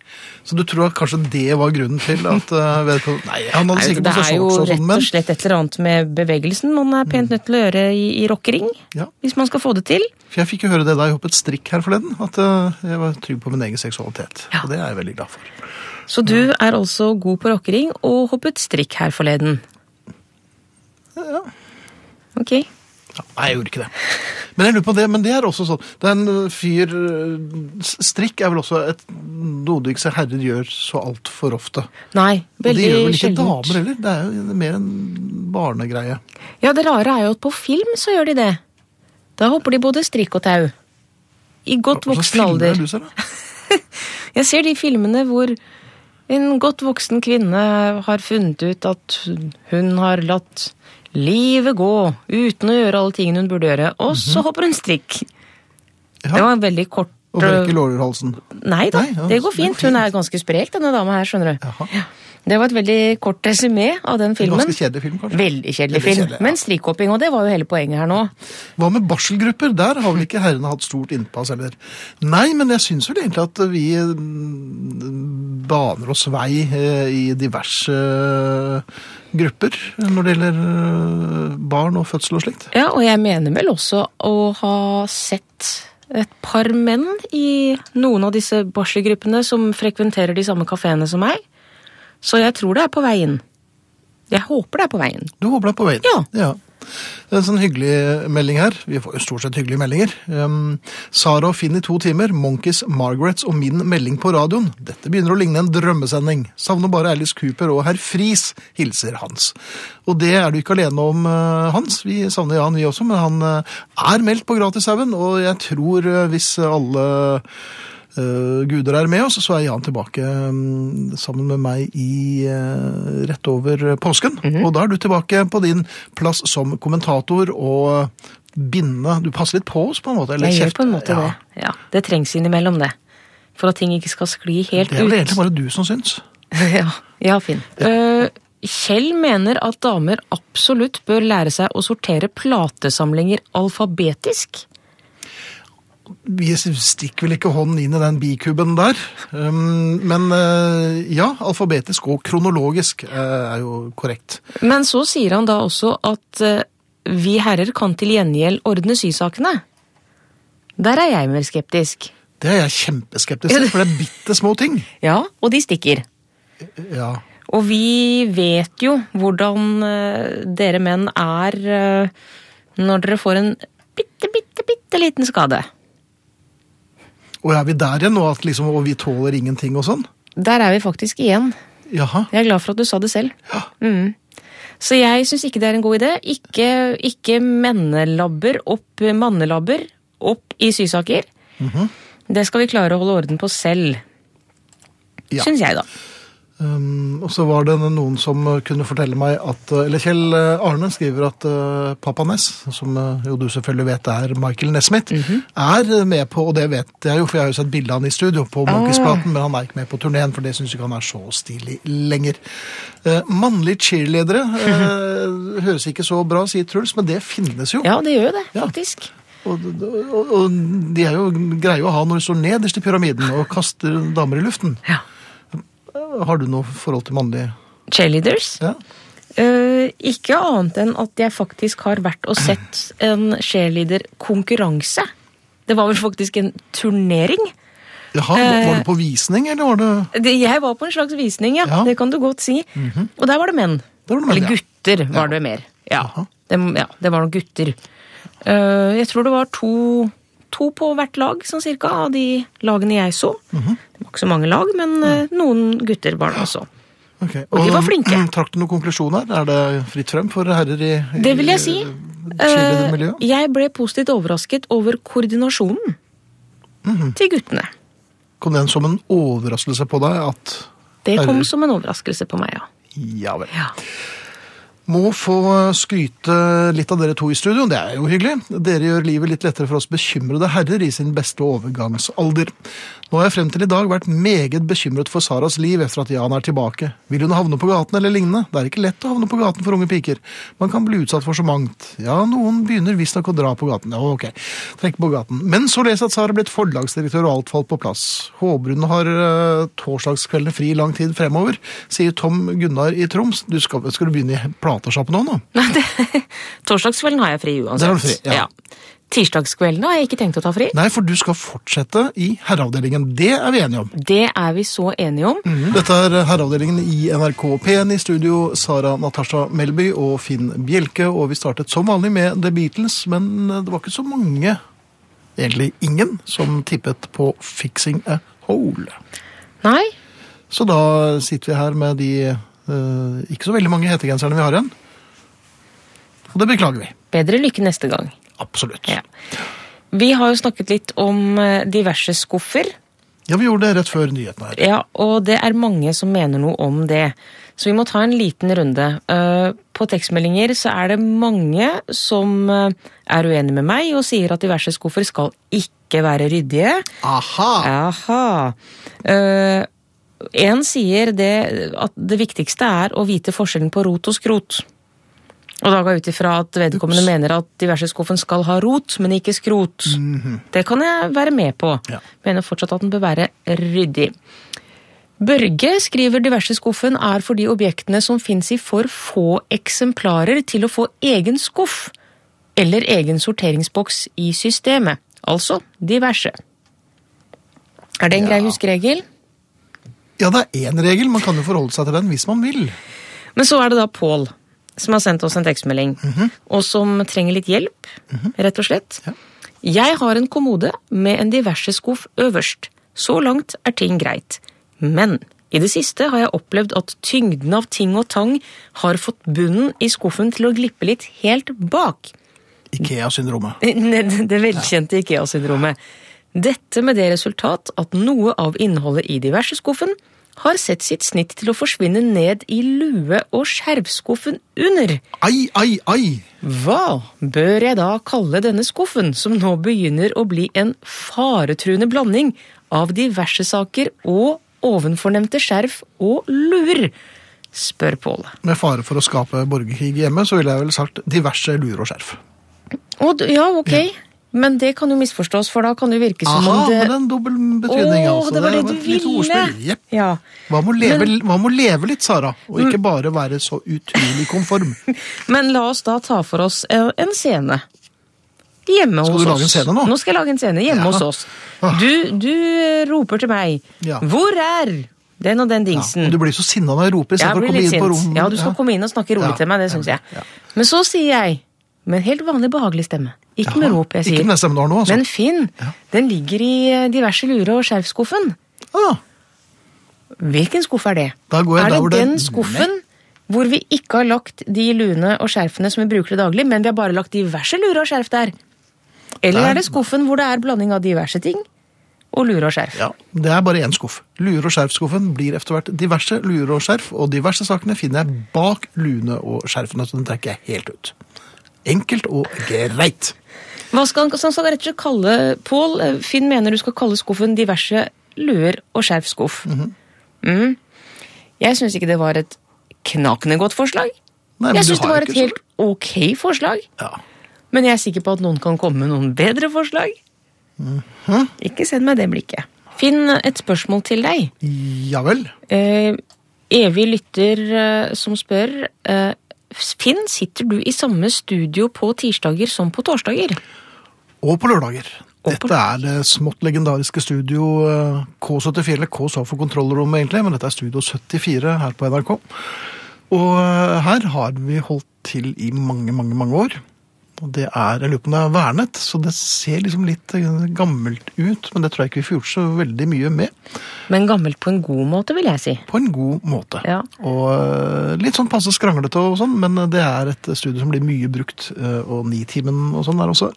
S1: Så du tror at kanskje det var grunnen til at eh, vedkommende Nei, han hadde
S2: Nei, vet du,
S1: sikkert
S2: Altså, det
S1: på
S2: er
S1: seg
S2: jo
S1: shorts og
S2: rett
S1: sånn,
S2: og
S1: men Mm.
S2: slett et eller annet med bevegelsen man er pent nødt til å gjøre i, i rockering.
S1: Ja.
S2: Hvis man skal få det til.
S1: For jeg fikk jo høre det da jeg hoppet strikk her forleden, at eh, jeg var trygg på min egen seksualitet.
S2: Ja.
S1: Og det er jeg veldig glad for.
S2: Så du er altså god på rockering og hoppet strikk her forleden. Ok.
S1: Ja, nei, jeg gjorde ikke det. Men jeg lurer på det, men det er også sånn. Det er en eh, fyr eh, s- Strikk er vel også et noe du ikke ser herrer gjør så altfor ofte.
S2: Nei,
S1: Og det
S2: veldig
S1: gjør vel ikke
S2: sjeldent.
S1: damer heller? Det er jo mer en barnegreie.
S2: Ja, det rare er jo at på film så gjør de det. Da hopper de både strikk og tau. I godt
S1: Hva slags
S2: voksen
S1: filmer er
S2: alder.
S1: det Du ser, da?
S2: Jeg ser de filmene hvor en godt voksen kvinne har funnet ut at hun har latt livet gå uten å gjøre alle tingene hun burde gjøre, og så hopper hun strikk.
S1: Mhm. Ja.
S2: Det var en veldig kort øh,
S1: Og breker lårhalsen.
S2: Nei da,
S1: Nei, ja,
S2: det går
S1: det går
S2: fint. Hun er ganske sprek, denne dama her, skjønner du.
S1: Jaha.
S2: Ja. Det var et veldig kort resymé av
S1: En
S2: den filmen.
S1: ganske kjedelig film, kanskje.
S2: Veldig kjedelig
S1: Veldig
S2: film.
S1: kjedelig, ja.
S2: Men strikkhopping, og det var jo hele poenget her nå.
S1: Hva med barselgrupper? Der har vel ikke herrene hatt stort innpass heller. Nei, men jeg syns vel egentlig at vi mm, baner oss vei eh, i diverse eh, grupper når det gjelder eh, barn og fødsel og slikt.
S2: Ja, og jeg mener vel også å ha sett et par menn i noen av disse barselgruppene som frekventerer de samme kafeene som meg. Så jeg tror det er på veien. Jeg håper det er på veien.
S1: Du håper deg på veien.
S2: Ja.
S1: Det er En sånn hyggelig melding her. Vi får jo stort sett hyggelige meldinger. Um, Sara og Finn i to timer. Monkeys, Margarets og min melding på radioen. Dette begynner å ligne en drømmesending. Savner bare Alice Cooper og herr Friis, hilser Hans. Og det er du ikke alene om, eh, Hans. Vi savner Jan, vi også, men han eh, er meldt på Gratishaugen. Og jeg tror eh, hvis alle eh, guder er med oss, så er Jan tilbake mm, sammen med meg i eh, rett over påsken.
S2: Mhm.
S1: Og da er du tilbake på din plass som kommentator og eh, binde Du passer litt på oss, på en måte? Eller
S2: Jeg gjør
S1: kjeft-
S2: på en måte
S1: ja.
S2: det. Ja, det trengs innimellom det. For at ting ikke skal skli helt
S1: Det er vel
S2: ut.
S1: egentlig bare du som syns.
S2: *laughs* ja, ja, Finn. Eh, Kjell mener at damer absolutt bør lære seg å sortere platesamlinger alfabetisk.
S1: Vi stikker vel ikke hånden inn i den bikuben der. Um, men eh, ja, alfabetisk og kronologisk eh, er jo korrekt.
S2: Men så sier han da også at eh, vi herrer kan til gjengjeld ordne sysakene. Der er jeg mer skeptisk.
S1: Det er jeg kjempeskeptisk
S2: *laughs*
S1: til, for det er bitte små ting.
S2: Ja, og de stikker.
S1: Ja.
S2: Og vi vet jo hvordan eh, dere menn er eh, når dere får en bitte, bitte, bitte liten skade.
S1: Og er vi der igjen nå, at liksom, og vi tåler ingenting og sånn?
S2: Der er vi faktisk igjen.
S1: Jaha.
S2: Jeg er glad for at du sa det selv.
S1: Ja.
S2: Mm. Så jeg syns ikke det er en god idé. Ikke, ikke mennelabber opp mannelabber opp i sysaker.
S1: Mhm.
S2: Det skal vi klare å holde orden på selv,
S1: Ja.
S2: syns jeg, da.
S1: Um, og så var det noen som eh, kunne fortelle meg at eh, Eller Kjell Arne skriver at eh, pappa Ness, som eh, jo du selvfølgelig vet er Michael Nesmith, er eh, med på, og det vet jeg jo, for jeg har jo sett bildet av han i studio på Munchesplaten, men han er ikke med på turneen, for det syns ikke han er så stilig lenger. Eh, mannlige cheerleadere eh, høres ikke så bra, sier Truls, men det finnes jo.
S2: Ja, det gjør jo det,
S1: Ja.
S2: faktisk.
S1: Og, og, og de er jo greie å ha når de står nederst i pyramiden og kaster damer i luften.
S2: Ja.
S1: Har du noe forhold til mannlige
S2: Cheerleaders.
S1: ja?
S2: Eh, ikke annet enn at jeg faktisk har vært og sett en cheerleader-konkurranse Det var vel faktisk en turnering.
S1: Jaha, var
S2: Eh,
S1: det på visning, eller var det
S2: Det, jeg var på en slags visning, ja.
S1: Ja. Mhm.
S2: Det kan du godt si. Og der var det menn.
S1: Der var det menn,
S2: Eller
S1: ja.
S2: gutter, var
S1: Ja.
S2: det mer. Ja.
S1: Jaha.
S2: Det, ja, det var noen gutter. Eh, jeg tror det var to, to på hvert lag, sånn cirka, av de lagene jeg så.
S1: Mhm.
S2: Det var ikke så mange lag, men eh, noen gutter var det også.
S1: Ok, mm,
S2: Og de var flinke.
S1: Trakk du noen konklusjoner? Er det fritt frem for herrer i, i
S2: Det vil jeg si.
S1: Chile
S2: Eh,
S1: miljø?
S2: jeg ble positivt overrasket over koordinasjonen
S1: Mhm.
S2: til guttene.
S1: Kom den som en overraskelse på deg at
S2: Det kom
S1: Herrer.
S2: som en overraskelse på meg, ja.
S1: ja vel.
S2: ja.
S1: Må få eh, skryte litt av dere to i studio, det er jo hyggelig. Dere gjør livet litt lettere for oss bekymrede herrer i sin beste overgangsalder. Nå har jeg frem til i dag vært meget bekymret for Saras liv etter at Jan er tilbake. Vil hun havne på gaten eller lignende? Det er ikke lett å havne på gaten for unge piker. Man kan bli utsatt for så mangt. Ja, noen begynner visstnok å dra på gaten. Ja, ok, trekk på gaten. Men så leser jeg at Sara er blitt forlagsdirektør og alt falt på plass. Håper hun har eh, torsdagskveldene fri i lang tid fremover, sier Tom Gunnar i Troms. Du skal, skal du begynne i platesjappen nå, nå?
S2: Nei, det, *laughs* torsdagskvelden har jeg fri uansett.
S1: Der har du fri, ja.
S2: Tirsdagskvelden har jeg ikke tenkt å ta fri.
S1: Nei, for du skal fortsette i herreavdelingen. Det er vi enige om.
S2: Det er vi så enige om.
S1: Dette er herreavdelingen i NRK P1 i studio. Sara Natasha Melby og Finn Bjelke. Og vi startet som vanlig med The Beatles, men det var ikke så mange, egentlig ingen, som tippet på Fixing a Hole.
S2: Nei,
S1: Så da sitter vi her med de eh, ikke så veldig mange hettegenserne vi har igjen. Og det beklager vi.
S2: bedre lykke neste gang.
S1: Absolutt.
S2: Ja. Vi har jo snakket litt om eh, diverse skuffer,
S1: Ja, vi gjorde det rett før nyhetene her.
S2: ja, og det er mange som mener noe om det. Så vi må ta en liten runde. Eh, På tekstmeldinger så er det mange som eh, er uenige med meg og sier at diverse skuffer skal ikke være ryddige.
S1: Aha!
S2: Aha. Eh, en sier det, at det viktigste er å vite forskjellen på rot og skrot. Og da går jeg ut ifra at vedkommende mener at diverse skuffen skal ha rot, men ikke skrot. Det kan jeg være med på.
S1: Ja.
S2: Mener fortsatt at den bør være ryddig. Børge skriver diverse skuffen er for de objektene som fins i for få eksemplarer til å få egen skuff eller egen sorteringsboks i systemet. Altså diverse. Er det en grei huskeregel?
S1: Ja, det er én regel. Man kan jo forholde seg til den hvis man vil.
S2: Men så er det da Pål som har sendt oss en tekstmelding, og som trenger litt hjelp, rett og slett. Jeg har en kommode med en diverse skuff øverst. Så langt er ting greit. Men i det siste har jeg opplevd at tyngden av ting og tang har fått bunnen i skuffen til å glippe litt helt bak.
S1: Ikea-syndromet.
S2: Ned det velkjente IKEA-syndromet. Dette med det resultat at noe av innholdet i diverse skuffen har sett sitt snitt til å forsvinne ned i lue- og skjervskuffen under.
S1: Ai, ai, ai!
S2: Hva bør jeg da kalle denne skuffen, som nå begynner å bli en faretruende blanding av diverse saker og ovenfornemte skjerf og luer? spør Pål.
S1: Med fare for å skape borgerkrig hjemme, så ville jeg vel sagt diverse luer og skjerf.
S2: Å, du- ja, ok, men det kan jo misforstås, for da kan det jo virke som
S1: Aha,
S2: om det
S1: med den dobbel betydning,
S2: Åh,
S1: altså.
S2: det var det du
S1: et lite
S2: ville!
S1: ordspill. Jepp.
S2: Ja.
S1: Hva med, å leve, hva med å leve litt, Sara? Og
S2: Mm.
S1: ikke bare være så utrolig konform.
S2: *laughs* Men la oss da ta for oss eh, en scene. Hjemme
S1: Skal
S2: hos oss.
S1: du lage en scene nå?
S2: Nå skal jeg lage en scene hjemme
S1: Ja.
S2: hos oss. Du, du eh, roper til meg.
S1: Ja.
S2: Hvor er den og den
S1: Ja,
S2: dingsen?
S1: og du blir så sinna når jeg roper,
S2: Jeg
S1: istedenfor å
S2: blir
S1: komme
S2: litt
S1: inn på
S2: sint.
S1: rommet.
S2: Ja, du skal
S1: Ja.
S2: komme inn og snakke rolig
S1: Ja,
S2: til meg, det syns
S1: ja,
S2: jeg. Men så sier jeg, med en helt vanlig behagelig stemme, ikke med
S1: Jaha,
S2: rop, jeg
S1: Ikke
S2: sier,
S1: med den stemmen du har nå, altså.
S2: men Finn, den ligger i eh, diverse lure- og skjerfskuffen.
S1: Ah,
S2: Hvilken skuff er det?
S1: Da går jeg
S2: er
S1: der hvor
S2: det
S1: det-
S2: den skuffen hvor vi ikke har lagt de luene og skjerfene som vi bruker til daglig, men vi har bare lagt diverse luer og skjerf der? Eller
S1: Der-
S2: er det skuffen hvor det er blanding av diverse ting og luer og skjerf?
S1: ja, det er bare én skuff. Luer- og skjerfskuffen blir etter hvert diverse luer og skjerf, og de verste sakene finner jeg bak luene og skjerfene, så den trekker jeg helt ut. Enkelt og greit.
S2: Hva skal han så han skal rett og slett kalle Pål? eh, Finn mener du skal kalle skuffen diverse luer og skjerfskuff.
S1: Mhm.
S2: mm. Jeg syns ikke det var et knakende godt forslag.
S1: Nei, men
S2: jeg
S1: du
S2: syns det
S1: har
S2: var
S1: ikke
S2: et helt ok forslag.
S1: Ja.
S2: Men jeg er sikker på at noen kan komme med noen bedre forslag.
S1: Mhm.
S2: Ikke send meg det blikket. Finn et spørsmål til deg.
S1: Ja vel.
S2: Eh, evig lytter eh, som spør eh, Finn, sitter du i samme studio på tirsdager som på torsdager?
S1: Og på lørdager. Dette er det smått legendariske studio eh, K74, eller K står for kontrollrommet egentlig, men dette er Studio 74 her på NRK. Og eh, her har vi holdt til i mange, mange, mange år. Og det er, jeg lurer på om det er vernet, så det ser liksom litt eh, gammelt ut, men det tror jeg ikke vi får gjort så veldig mye med,
S2: Men gammelt på en god måte, vil jeg si.
S1: på en god måte.
S2: Ja.
S1: Og eh, litt sånn passe skranglete og sånn, men det er et studio som blir mye brukt, eh, og Nitimen og sånn der også.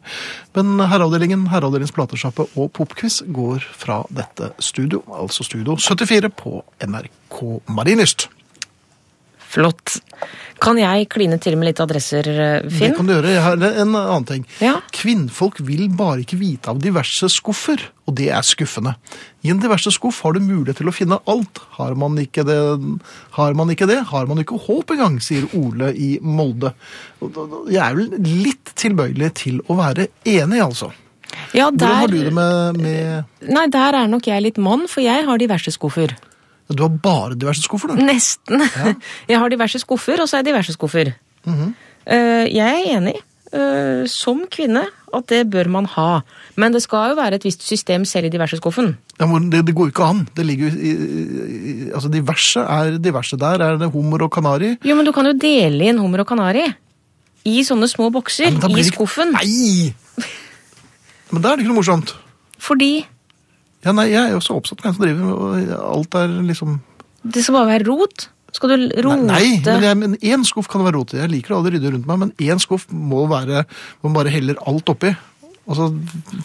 S1: Men Herreavdelingen, Herreavdelingens platesjappe og Popquiz går fra dette studio, altså Studio 74 på NRK Marienlyst.
S2: Flott. Kan jeg kline til med litt adresser, eh,
S1: Det
S2: Finn?
S1: kan du gjøre. Jeg har en annen ting.
S2: Ja.
S1: Kvinnfolk vil bare ikke vite av diverse skuffer, og det er skuffende. I en diverse skuff har du mulighet til å finne alt. Har man ikke det, har man ikke, det, har man ikke håp engang, sier Ole i Molde. Og da- da- Jeg er vel litt tilbøyelig til å være enig, altså.
S2: Ja,
S1: Hvordan har du
S2: der,
S1: det med, med
S2: nei, der er nok jeg litt mann, for jeg har diverse skuffer.
S1: Du har bare diverse skuffer, du?
S2: Nesten. *laughs* Jeg har diverse skuffer, og så er jeg diverse skuffer. Eh, Jeg er enig, eh, som kvinne, at det bør man ha. Men det skal jo være et visst system selv i diverse skuffen.
S1: Ja, men det, det går jo ikke an. Det ligger jo i, i, i Altså, diverse er diverse. Der er det hummer og kanari.
S2: Jo, men du kan jo dele inn hummer og kanari. I sånne små bokser.
S1: Men da blir
S2: I
S1: det ikke-
S2: skuffen.
S1: Nei! Men da er det ikke noe morsomt.
S2: Fordi
S1: Ja, nei, Jeg er jo så oppsatt med en som driver med og Alt er liksom
S2: det skal bare være rot. Skal du l-
S1: Nei,
S2: rote
S1: nei men, jeg, men én skuff kan være rotet. Jeg liker å ha det ryddig rundt meg, men én skuff må være hvor man bare heller alt oppi. Og så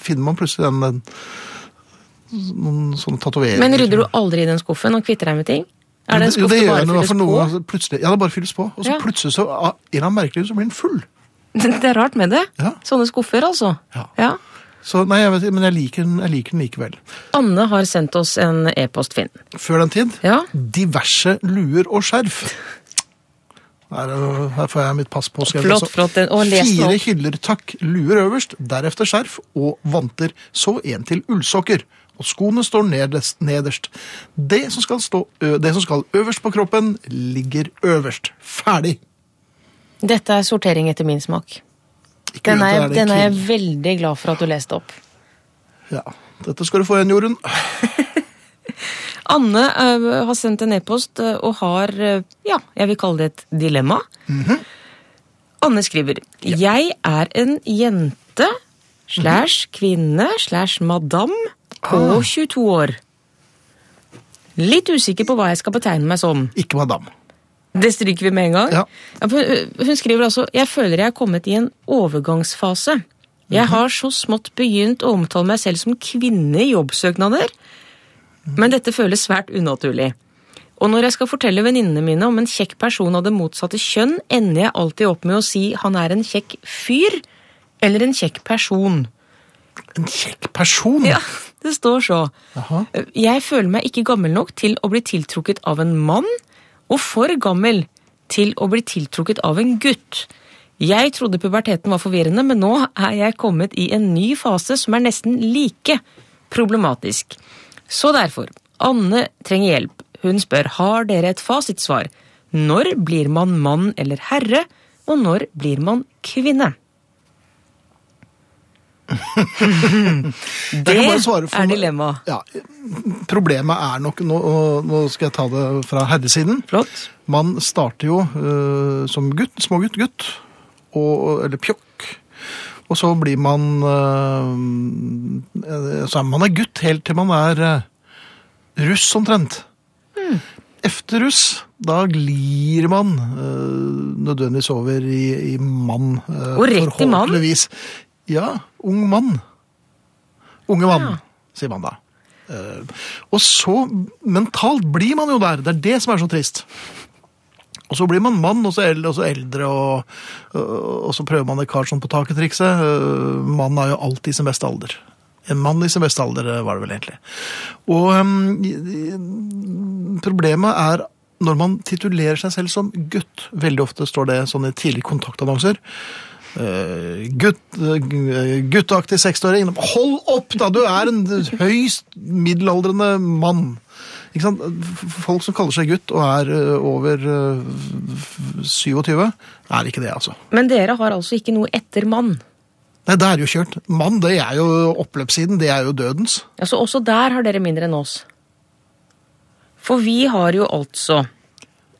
S1: finner man plutselig den, den noen sånne tatoveringer.
S2: Men rydder du aldri i den skuffen og kvitter deg med ting? Er det en
S1: Jo,
S2: skuff du
S1: gjør
S2: bare
S1: jeg, men
S2: fylles
S1: for noe,
S2: på?
S1: altså, plutselig, ja, det bare fylles på. Og så
S2: Ja.
S1: plutselig så, av en eller annen merkelig grunn, så blir den full.
S2: *laughs* Det er rart med det.
S1: Ja.
S2: Sånne skuffer, altså.
S1: Ja. Så nei, jeg vet, ikke, Men jeg liker, den, jeg liker den likevel.
S2: Anne har sendt oss en e-post, Finn.
S1: Før den tid
S2: Ja.
S1: diverse luer og skjerf. Her, er- her får jeg mitt pass på. skal jeg
S2: Flott,
S1: lese opp.
S2: flott, den- og les den
S1: Fire
S2: opp.
S1: hyller, takk. Luer øverst, deretter skjerf og vanter. Så en til ullsokker. Og skoene står nederst. nederst. Det, som skal stå, ø, det som skal øverst på kroppen, ligger øverst. Ferdig.
S2: Dette er sortering etter min smak.
S1: Ikke
S2: Den
S1: uventa
S2: er,
S1: det
S2: den er jeg
S1: kul.
S2: veldig glad for at du leste opp.
S1: ja. Dette skal du få igjen, Jorunn.
S2: Anne eh, har sendt en e-post eh, og har, eh, ja, jeg vil kalle det et dilemma.
S1: Mhm.
S2: Anne skriver, jeg er en jente, slash kvinne, slash madam, på
S1: Mhm. Ah.
S2: 22 år. Litt usikker på hva jeg skal betegne meg som.
S1: Ikke madam.
S2: Det stryker vi med en gang.
S1: Ja.
S2: Ja, for, øh, Hun skriver altså Jeg føler jeg er kommet i en overgangsfase. Jeg har så smått begynt å omtale meg selv som kvinne i jobbsøknader, men dette føles svært unaturlig. Og når jeg skal fortelle venninnene mine om en kjekk person av det motsatte kjønn, ender jeg alltid opp med å si han er en kjekk fyr eller en kjekk person.
S1: En kjekk person.
S2: Ja, det står så. eh,
S1: Jaha.
S2: Jeg føler meg ikke gammel nok til å bli tiltrukket av en mann, og for gammel til å bli tiltrukket av en gutt. Jeg trodde puberteten var forvirrende, men nå er jeg kommet i en ny fase som er nesten like problematisk. Så derfor, Anne trenger hjelp. Hun spør har dere et fasitsvar. Når blir man mann eller herre, og når blir man kvinne?
S1: Jeg kan bare svare
S2: det
S1: for-
S2: er dilemmaet.
S1: Ja, problemet er nok Nå, og nå skal jeg ta det fra herresiden.
S2: Flott.
S1: Man starter jo eh, som gutt, smågutt, gutt, og, eller pjokk. Og så blir man eh, Så er man er gutt helt til man er eh, russ, omtrent.
S2: Hmm.
S1: Efter russ, da glir man eh, nødvendigvis over i, i mann. eh,
S2: Og rett i mann?
S1: forhåpentligvis. Ja. Ung mann. Unge mann,
S2: Ja.
S1: sier man da. Eh, og så mentalt blir man jo der. Det er det som er så trist. Og så blir man mann, og så eldre, og så, eldre, og, øh, og så prøver man det Karlsson på taket-trikset. Øh, Mann er jo alltid i sin beste alder. En mann i sin beste alder, øh, var det vel egentlig. Og øhm, i- i- problemet er når man titulerer seg selv som gutt. Veldig ofte står det sånn i tidlige kontaktannonser. Eh, gutt, eh, guttaktig seksåring. Hold opp, da! Du er en høyst middelaldrende mann. Ikke sant? F- Folk som kaller seg gutt og er eh, over eh, f- f- 27, er ikke det, altså.
S2: Men dere har altså ikke noe etter mann.
S1: Nei, det er jo kjørt. Mann, det er jo oppløpssiden. Det er jo dødens.
S2: Altså, også der har dere mindre enn oss. For vi har jo altså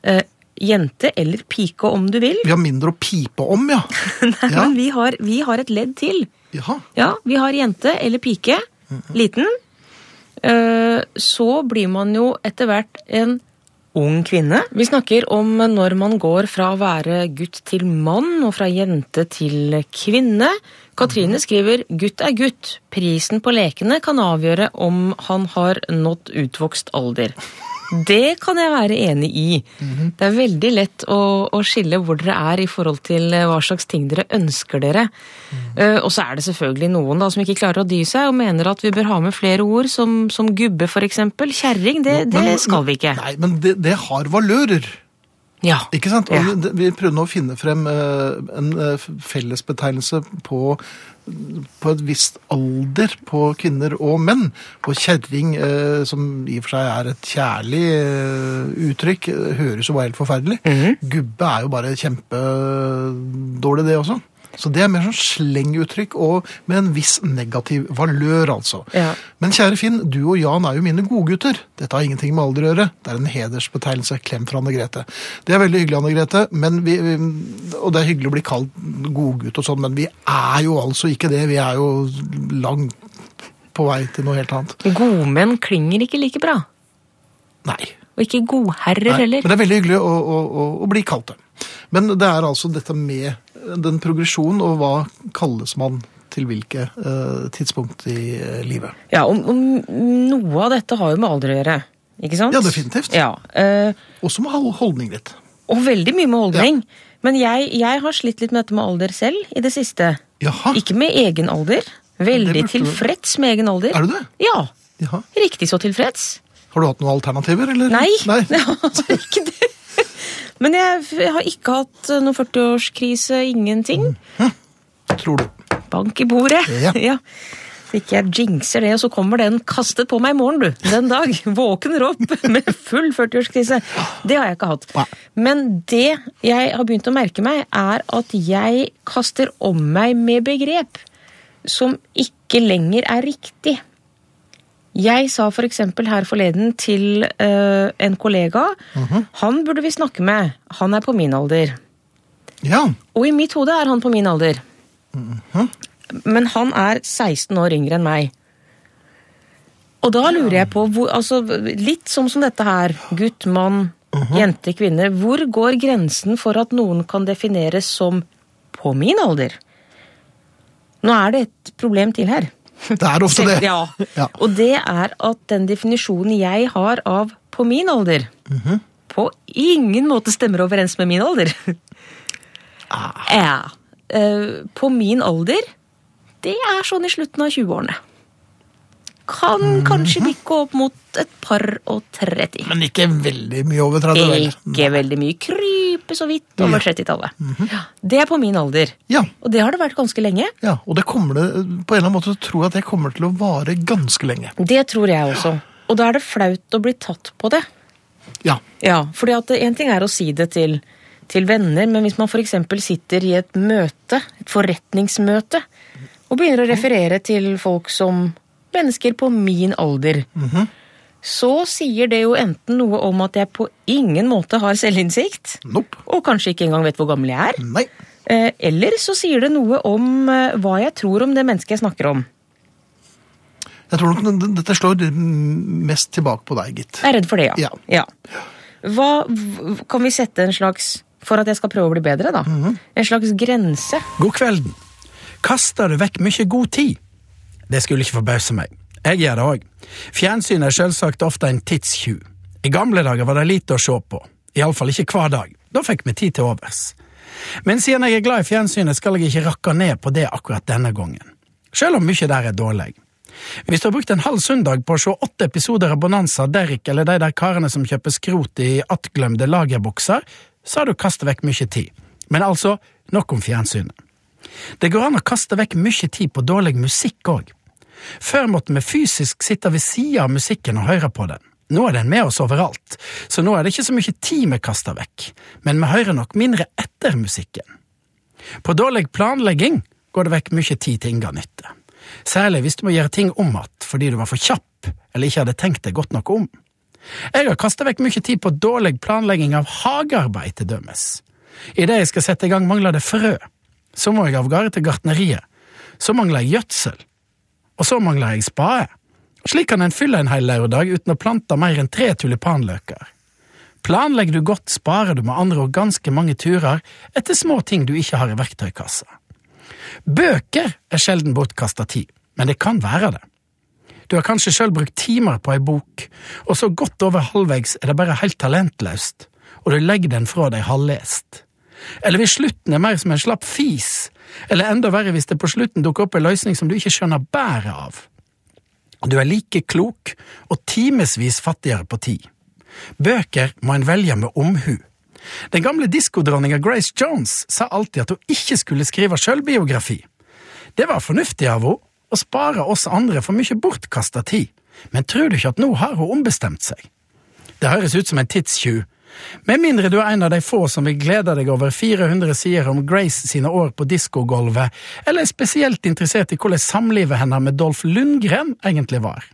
S2: eh, jente eller pike om du vil.
S1: Vi har mindre å pipe om, ja.
S2: *laughs* Nei,
S1: Ja.
S2: men vi har, vi har et ledd til.
S1: Jaha.
S2: Ja, vi har jente eller pike. Liten. Eh, Så blir man jo etter hvert en ung kvinne. Vi snakker om når man går fra å være gutt til mann og fra jente til kvinne. Katrine skriver 'gutt er gutt'. Prisen på lekene kan avgjøre om han har nådd utvokst alder. Det kan jeg være enig i.
S1: Mhm.
S2: Det er veldig lett å, å skille hvor dere er i forhold til eh, hva slags ting dere ønsker dere.
S1: Mhm.
S2: Eh, og så er det selvfølgelig noen da, som ikke klarer å dy seg og mener at vi bør ha med flere ord, som, som gubbe f.eks. Kjerring, det, det
S1: Men-
S2: skal vi ikke.
S1: Nei, men det, det har valører.
S2: Ja.
S1: Ikke sant? Og
S2: Ja.
S1: vi, vi prøvde nå å finne frem eh, en eh, fellesbetegnelse på, på et visst alder på kvinner og menn. Og kjerring, eh, som i og for seg er et kjærlig eh, uttrykk, eh, høres jo bare helt forferdelig.
S2: Mhm.
S1: Gubbe er jo bare kjempedårlig, det også. Så det er mer sånn slenguttrykk og med en viss negativ valør, altså.
S2: Ja.
S1: Men kjære Finn, du og Jan er jo mine godgutter. Dette har ingenting med alder å gjøre. Det er en hedersbetegnelse. Klem fra Anne Grete. Det er veldig hyggelig, Anne Grete, men vi, vi, og det er hyggelig å bli kalt godgutt og sånn, men vi er jo altså ikke det. Vi er jo langt på vei til noe helt annet.
S2: Godmenn klinger ikke like bra.
S1: Nei.
S2: Og ikke godherrer
S1: Nei,
S2: heller.
S1: men det er veldig hyggelig å, å, å, å bli kalt det. Men det er altså dette med den progresjonen, og hva kalles man til hvilke eh, tidspunkt i eh, livet?
S2: Ja, og, og noe av dette har jo med alder å gjøre. Ikke sant?
S1: Ja, definitivt.
S2: Ja, eh,
S1: Også med hol- holdning litt.
S2: og veldig mye med holdning. Men jeg, jeg har slitt litt med dette med alder selv i det siste.
S1: Jaha,
S2: Ikke med egen alder. Veldig
S1: Ah. burde du-
S2: tilfreds med egen alder.
S1: er du det?
S2: Ja.
S1: Jaha.
S2: Riktig så tilfreds.
S1: Har du hatt noen alternativer, eller?
S2: Nei,
S1: *laughs*
S2: *laughs*
S1: Nei.
S2: jeg har ikke det. Men jeg, jeg har ikke hatt noen 40-årskrise, ingenting.
S1: Tror du.
S2: Bank i bordet.
S1: Ja.
S2: *laughs* Så ikke jeg jinxer det, og så kommer den kastet på meg i morgen, du. Den dag. *laughs* Våkner opp med full 40-årskrise. Det har jeg ikke hatt.
S1: Nei.
S2: Men det jeg har begynt å merke meg, er at jeg kaster om meg med begrep som ikke lenger er riktig. Jeg sa for eksempel her forleden til eh, en kollega Han burde vi snakke med. Han er på min alder.
S1: Ja.
S2: Og i mitt hode er han på min alder. Men han er 16 år yngre enn meg. Og da lurer jeg på, hvor, altså, litt som, som dette her, gutt, mann, jente, kvinne, hvor går grensen for at noen kan defineres som på min alder? Nå er det et problem til her.
S1: Det er ofte det.
S2: *laughs* Ja.
S1: Ja.
S2: Og det er at den definisjonen jeg har av på min alder,
S1: Mhm.
S2: på ingen måte stemmer overens med min alder.
S1: Ah.
S2: Ja. Eh, på min alder, det er sånn i slutten av 20-årene. Kan
S1: Mhm.
S2: kanskje bikke opp mot et par og 30.
S1: Men ikke veldig mye over 30, vel?
S2: Ikke veldig mye. Krype så vidt over 30-tallet.
S1: Mhm.
S2: Ja, Det er på min alder.
S1: Ja.
S2: Og det har det vært ganske lenge.
S1: ja. Og det kommer det, på en eller annen måte tror jeg at det kommer til å vare ganske lenge.
S2: Det tror jeg også. Og da er det flaut å bli tatt på det.
S1: Ja.
S2: Ja, fordi at en ting er å si det til, til venner, men hvis man f.eks. sitter i et møte, et forretningsmøte, og begynner å referere til folk som mennesker på min alder, så sier det jo enten noe om at jeg på ingen måte har selvinnsikt,
S1: Nope.
S2: og kanskje ikke engang vet hvor gammel jeg er,
S1: Nei.
S2: eh, eller så sier det noe om eh, hva jeg tror om det mennesket jeg snakker om.
S1: Jeg tror nok den- dette slår mest tilbake på deg, gitt.
S2: Jeg er redd for det, ja.
S1: Ja.
S2: Hva, v- kan vi sette en slags, for at jeg skal prøve å bli bedre, da, en slags grense?
S3: God kvelden. Kaster du vekk mye god tid? Det skulle ikke forbause meg. Jeg gjør det òg. Fjernsyn er selvsagt ofte en tidstjuv. I gamle dager var det lite å se på. Iallfall ikke hver dag. Da fikk vi tid til overs. Men siden jeg er glad i fjernsynet, skal jeg ikke rakke ned på det akkurat denne gangen. Selv om mye der er dårlig. Hvis du har brukt en halv søndag på å se åtte episoder av Bonanza, Derrick eller de der karene som kjøper skrot i attglemte lagerbukser, så har du kastet vekk mye tid. Men altså, nok om fjernsynet. Det går an å kaste vekk mye tid på dårlig musikk òg. Før måtte vi fysisk sitte ved sida av musikken og høre på den. Nå er den med oss overalt, så nå er det ikke så mye tid vi kaster vekk, men vi hører nok mindre etter musikken. På dårlig planlegging går det vekk mye tid til inga nytte. Særlig hvis du må gjøre ting om att fordi du var for kjapp eller ikke hadde tenkt deg godt nok om. Jeg har kasta vekk mye tid på dårlig planlegging av hagearbeid, til dømes. Idet jeg skal sette i gang, mangler det frø. Så må jeg av gårde til gartneriet. Så mangler jeg gjødsel. Og så mangler jeg spade. Slik kan en fylle en hel lørdag uten å plante mer enn tre tulipanløker. Planlegger du godt, sparer du med andre ord ganske mange turer etter små ting du ikke har i verktøykassa. Bøker er sjelden bortkasta tid, men det kan være det. Du har kanskje sjøl brukt timer på ei bok, og så godt over halvveis er det bare helt talentløst, og du legger den fra deg halvlest. Eller hvis slutten er mer som en slapp fis, eller enda verre hvis det på slutten dukker opp ei løsning som du ikke skjønner bæret av. Du er like klok og timevis fattigere på tid. Bøker må en velge med omhu. Den gamle diskodronninga Grace Jones sa alltid at hun ikke skulle skrive sjølbiografi. Det var fornuftig av henne å spare oss andre for mye bortkasta tid, men tror du ikke at nå har hun ombestemt seg? Det høres ut som en tidstjuv. Med mindre du er en av de få som vil glede deg over 400 sider om Grace sine år på diskogolvet, eller er spesielt interessert i hvordan samlivet hennes med Dolf Lundgren egentlig var.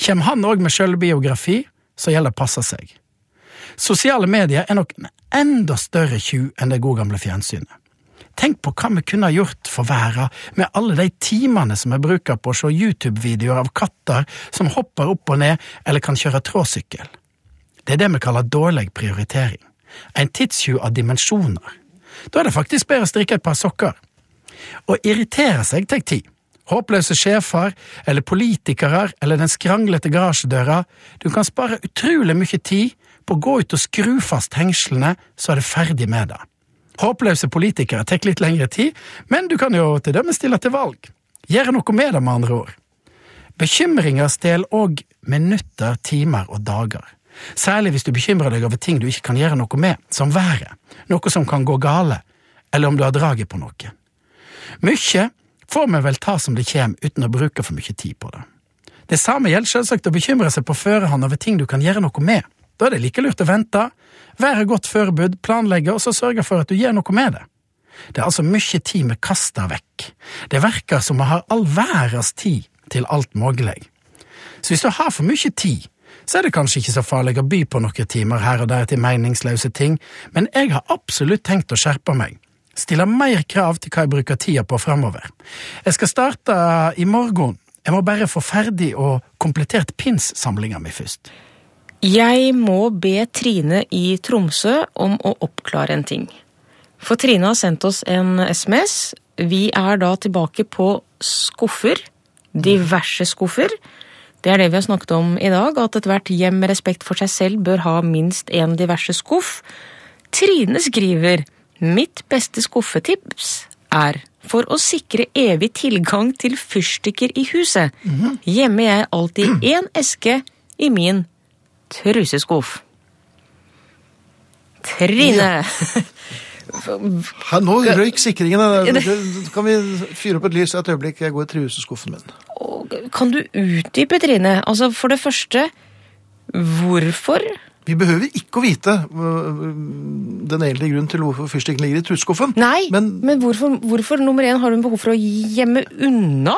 S3: Kjem han òg med sjølbiografi, så gjelder det å passe seg. Sosiale medier er nok en enda større tjuv enn det gode gamle fjernsynet. Tenk på hva vi kunne ha gjort for verden med alle de timene som vi bruker på å se YouTube-videoer av katter som hopper opp og ned eller kan kjøre tråsykkel. Det er det vi kaller dårlig prioritering. En tidstjuv av dimensjoner. Da er det faktisk bedre å strikke et par sokker. Å irritere seg tar tid. Håpløse sjefer, eller politikere, eller den skranglete garasjedøra. Du kan spare utrolig mye tid på å gå ut og skru fast hengslene, så er det ferdig med det. Håpløse politikere tar litt lengre tid, men du kan jo til dømme stille til valg. Gjøre noe med det, med andre ord. Bekymringer stjeler òg minutter, timer og dager. Særlig hvis du bekymrer deg over ting du ikke kan gjøre noe med, som været, noe som kan gå gale, eller om du har draget på noe. Mykje får vi vel ta som det kjem, uten å bruke for mye tid på det. Det samme gjelder selvsagt å bekymre seg på førehånd over ting du kan gjøre noe med. Da er det like lurt å vente, være godt forberedt, planlegge og så sørge for at du gjør noe med det. Det er altså mykje tid vi kaster vekk. Det verker som vi har all verdens tid til alt mulig. Så hvis du har for mye tid, så er det kanskje ikke så farlig å by på noen timer her og der til meningsløse ting, men jeg har absolutt tenkt å skjerpe meg. Stille mer krav til hva jeg bruker tida på framover. Jeg skal starte i morgen. Jeg må bare få ferdig og komplettert pins-samlinga mi først.
S2: Jeg må be Trine i Tromsø om å oppklare en ting. For Trine har sendt oss en SMS. Vi er da tilbake på skuffer. Diverse skuffer. Det er det vi har snakket om i dag, at ethvert hjem med respekt for seg selv bør ha minst én diverse skuff. Trine skriver mitt beste skuffetips er for å sikre evig tilgang til fyrstikker i huset, gjemmer jeg alltid én eske i min truseskuff. Trine!
S1: Her, nå røyk sikringen. her. Det- Kan vi fyre opp et lys et øyeblikk? Jeg går i truseskuffen min.
S2: Og Kan du utdype, Trine? Altså, for det første, hvorfor?
S1: Vi behøver ikke å vite øh, den egentlige grunnen til hvorfor fyrstikken ligger i truseskuffen.
S2: Nei, men,
S1: Men
S2: hvorfor, hvorfor nummer én har hun behov for å gjemme unna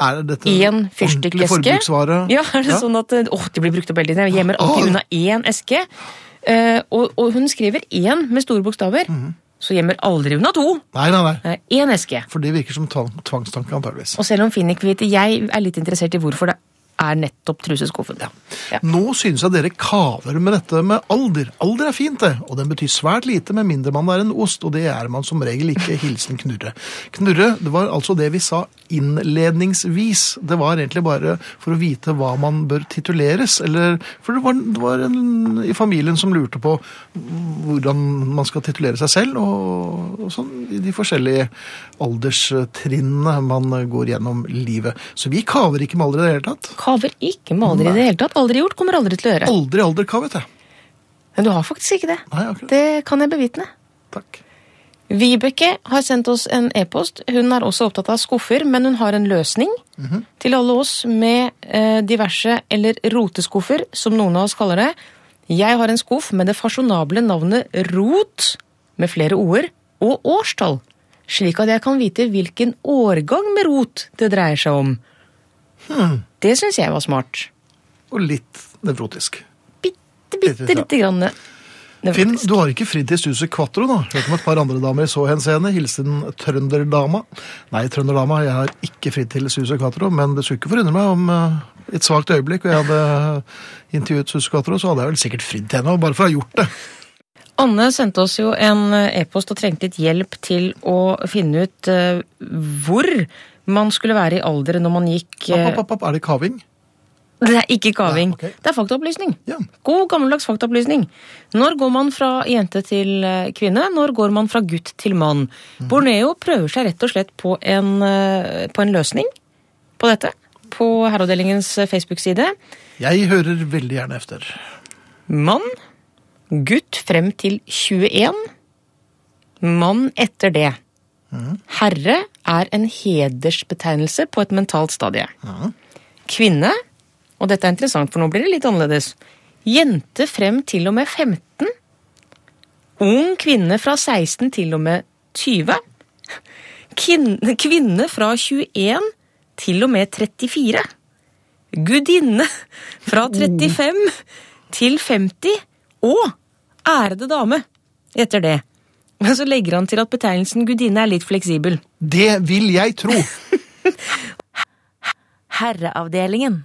S1: er dette
S2: én
S1: Mm. ordentlig
S2: fyrstikkeske?
S1: forbruksvare? Ah.
S2: Ja, er det sånn at Å, de blir brukt opp hele tiden. Jeg gjemmer alltid
S1: Åh.
S2: unna én eske. Eh, og, og hun skriver én med store bokstaver.
S1: Mm.
S2: Så gjemmer aldri unna to.
S1: Nei, nei, nei.
S2: Nei, Én eske.
S1: For det virker som tva- tvangstanke, antageligvis.
S2: Og selv om Finn ikke vet det, jeg er litt interessert i hvorfor det er nettopp truseskuffen. Ja.
S1: Nå synes jeg dere kaver med dette med alder. Alder er fint, det, og den betyr svært lite med mindre man er en ost, og det er man som regel ikke. Hilsen Knurre. Knurre, det var altså det vi sa innledningsvis. Det var egentlig bare for å vite hva man bør tituleres, eller For det var, det var en i familien som lurte på hvordan man skal titulere seg selv, og, og sånn i de forskjellige alderstrinnene man går gjennom livet. Så vi kaver ikke med alder i det hele tatt.
S2: Kaver ikke med alder i det hele tatt. Aldri gjort, kommer aldri til å gjøre.
S1: Aldri alderkavet, jeg.
S2: Men du har faktisk ikke det.
S1: Nei, akkurat.
S2: Det kan jeg bevitne.
S1: Takk.
S2: Vibeke har sendt oss en e-post. Hun er også opptatt av skuffer, men hun har en løsning til alle oss med eh, diverse eller roteskuffer, som noen av oss kaller det. Jeg har en skuff med det fasjonable navnet Rot, med flere ord, og årstall. slik at jeg kan vite hvilken årgang med rot det dreier seg om. Det syns jeg var smart.
S1: Og litt nevrotisk.
S2: Bitte, bitte
S1: Litt, ja.
S2: lite grann. Det var
S1: Finn,
S2: faktisk-
S1: du har ikke fridd til Stuset Quatro, da. Hørt om et par andre damer i så henseende. Hilsen Trønderdama. Nei, Trønderdama, jeg har ikke fridd til Stuset Quatro, men det skulle ikke forundre meg om eh, et svakt øyeblikk og jeg hadde intervjuet Stuset Quatro, så hadde jeg vel sikkert fridd til henne, bare for å ha gjort det.
S2: Anne sendte oss jo en eh, e-post og trengte litt hjelp til å finne ut eh, hvor man skulle være i alder når man gikk
S1: Papp, papp,
S2: eh,
S1: papp, papp. Er det kaving?
S2: Det er ikke kaving.
S1: Nei, ok.
S2: Det er faktaopplysning.
S1: Ja.
S2: God, gammeldags faktaopplysning. Når går man fra jente til eh, kvinne? Når går man fra gutt til mann?
S1: Mhm.
S2: Borneo prøver seg rett og slett på en, eh, på en løsning på dette. På Herreavdelingens eh, Facebook-side.
S1: Jeg hører veldig gjerne efter.
S2: Mann, gutt frem til 21. Mann etter det. Herre er en hedersbetegnelse på et mentalt stadie. Kvinne, og dette er interessant, for nå blir det litt annerledes. Jente frem til og med 15. Ung kvinne fra 16 til og med 20. Kvinne, kvinne fra 21 til og med 34. Gudinne fra 35 til 50 og ærede dame etter det. Men så legger han til at betegnelsen gudinne er litt fleksibel.
S1: Det vil jeg tro.
S2: Herreavdelingen.